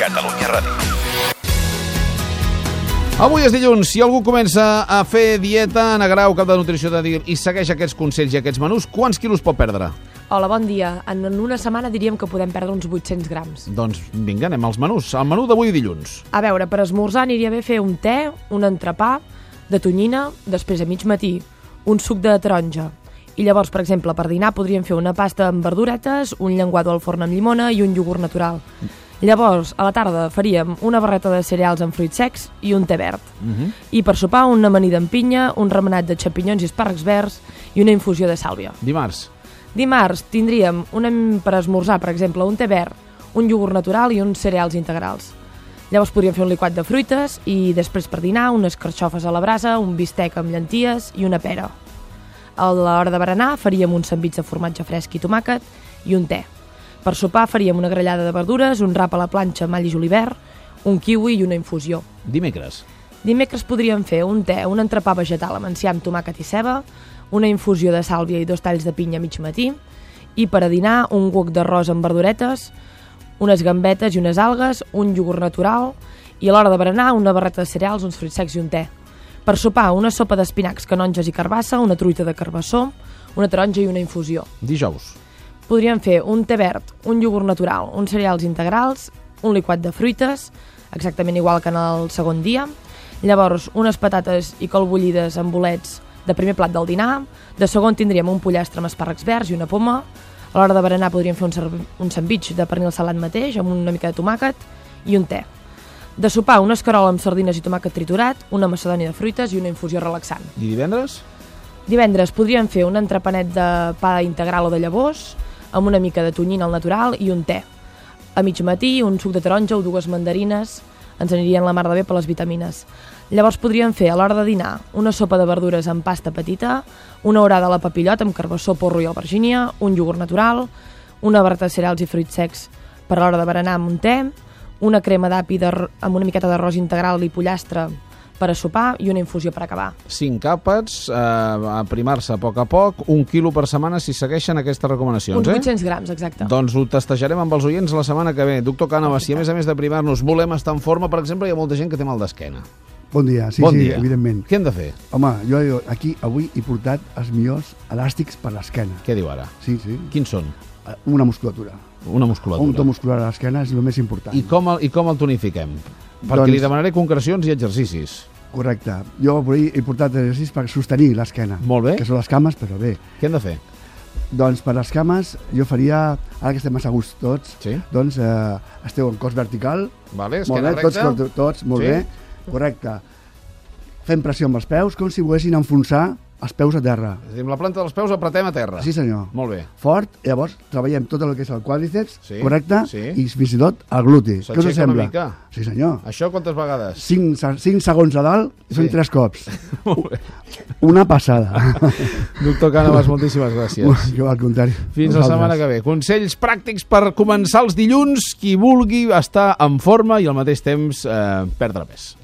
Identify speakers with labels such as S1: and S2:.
S1: Catalunya Ràdio.
S2: Avui és dilluns. Si algú comença a fer dieta, Ana Grau, cap de nutrició de DIL, i segueix aquests consells i aquests menús, quants quilos pot perdre?
S3: Hola, bon dia. En en una setmana diríem que podem perdre uns 800 grams.
S2: Doncs vinga, anem als menús. El menú d'avui dilluns.
S3: A veure, per esmorzar aniria bé fer un te, un entrepà, de tonyina, després a mig matí, un suc de taronja. I llavors, per exemple, per dinar podríem fer una pasta amb verduretes, un llenguado al forn amb llimona i un iogurt natural. Llavors, a la tarda faríem una barreta de cereals amb fruits secs i un te verd. I per sopar, una amanida amb pinya, un remenat de xampinyons i espàrrecs verds i una infusió de sàlvia.
S2: Dimarts.
S3: Dimarts tindríem un, em- per esmorzar, per exemple, un te verd, un iogurt natural i uns cereals integrals. Llavors podríem fer un liquat de fruites i després per dinar unes carxofes a la brasa, un bistec amb llenties i una pera. A l'hora de berenar faríem un sandvitx de formatge fresc i tomàquet i un te. Per sopar faríem una grellada de verdures, un rap a la planxa amb all i julivert, un kiwi i una infusió.
S2: Dimecres.
S3: Dimecres podríem fer un te, un entrepà vegetal amb enciam, tomàquet i ceba, una infusió de sàlvia i dos talls de pinya a mig matí, i per a dinar un guc d'arròs amb verduretes, unes gambetes i unes algues, un iogurt natural, i a l'hora de berenar una barreta de cereals, uns fruits secs i un te. Per sopar, una sopa d'espinacs, canonges i carbassa, una truita de carbassó, una taronja i una infusió.
S2: Dijous.
S3: Podríem fer un te verd, un iogurt natural, uns cereals integrals, un liquat de fruites, exactament igual que en el segon dia, llavors unes patates i col bullides amb bolets de primer plat del dinar, de segon tindríem un pollastre amb espàrrecs verds i una poma, a l'hora de berenar podríem fer un, serv- un sandvitx de pernil salat mateix amb una mica de tomàquet i un te. De sopar, una escarola amb sardines i tomàquet triturat, una macedònia de fruites i una infusió relaxant.
S2: I divendres?
S3: Divendres podríem fer un entrepanet de pa integral o de llavors, amb una mica de tonyina al natural i un te. A mig matí, un suc de taronja o dues mandarines ens anirien la mar de bé per les vitamines. Llavors podríem fer, a l'hora de dinar, una sopa de verdures amb pasta petita, una orada a la papillota amb carbassó, porro i albergínia, un iogurt natural, una barreta de cereals i fruits secs per a l'hora de berenar amb un te, una crema d'api d'arr- amb una miqueta d'arròs integral i pollastre per a sopar i una infusió per acabar.
S2: Cinc àpats, eh, aprimar-se a poc a poc, un quilo per setmana si segueixen aquestes recomanacions.
S3: Uns
S2: eh?
S3: 800 grams, exacte.
S2: Doncs ho testejarem amb els oients la setmana que ve. Doctor Cànova, si a més a més d'aprimar-nos volem estar en forma, per exemple, hi ha molta gent que té mal d'esquena.
S4: Bon dia, sí,
S2: bon
S4: sí,
S2: dia.
S4: evidentment.
S2: Què hem de fer?
S4: Home, jo jo aquí avui he portat els millors elàstics per l'esquena.
S2: Què diu ara?
S4: Sí, sí.
S2: Quins són?
S4: Una musculatura.
S2: Una musculatura.
S4: Un to muscular a l'esquena és el més important.
S2: I com el, i com el tonifiquem? Perquè
S4: Doncs-
S2: li demanaré concrecions i exercicis.
S4: Correcte. Jo avui he portat exercicis per sostenir l'esquena.
S2: Molt bé.
S4: Que són les cames, però bé.
S2: Què hem de fer?
S4: Doncs per les cames jo faria, ara que estem massa a gust tots,
S2: Sí.
S4: doncs eh, esteu en cos vertical.
S2: Vale,
S4: molt
S2: esquena
S4: bé, doncs tots,
S2: recta.
S4: tots, tots, molt
S2: Sí.
S4: bé. Correcte. Fem pressió amb els peus com si volguessin enfonsar els peus a terra.
S2: És a dir, amb la planta dels peus apretem a terra.
S4: Sí, senyor.
S2: Molt bé.
S4: fort, llavors treballem tot el que és el quàdriceps,
S2: Sí,
S4: correcte,
S2: sí.
S4: i fins i tot el gluti.
S2: S'aixeca
S4: Què us
S2: una
S4: sembla?
S2: mica.
S4: Sí, senyor.
S2: Això quantes vegades?
S4: 5, 5 segons a dalt són
S2: Sí.
S4: 3 cops.
S2: Molt bé.
S4: Una passada.
S2: Doctor Cànovas, moltíssimes gràcies.
S4: jo al contrari.
S2: Fins la setmana que ve. Consells pràctics per començar els dilluns, qui vulgui estar en forma i al mateix temps eh, perdre pes.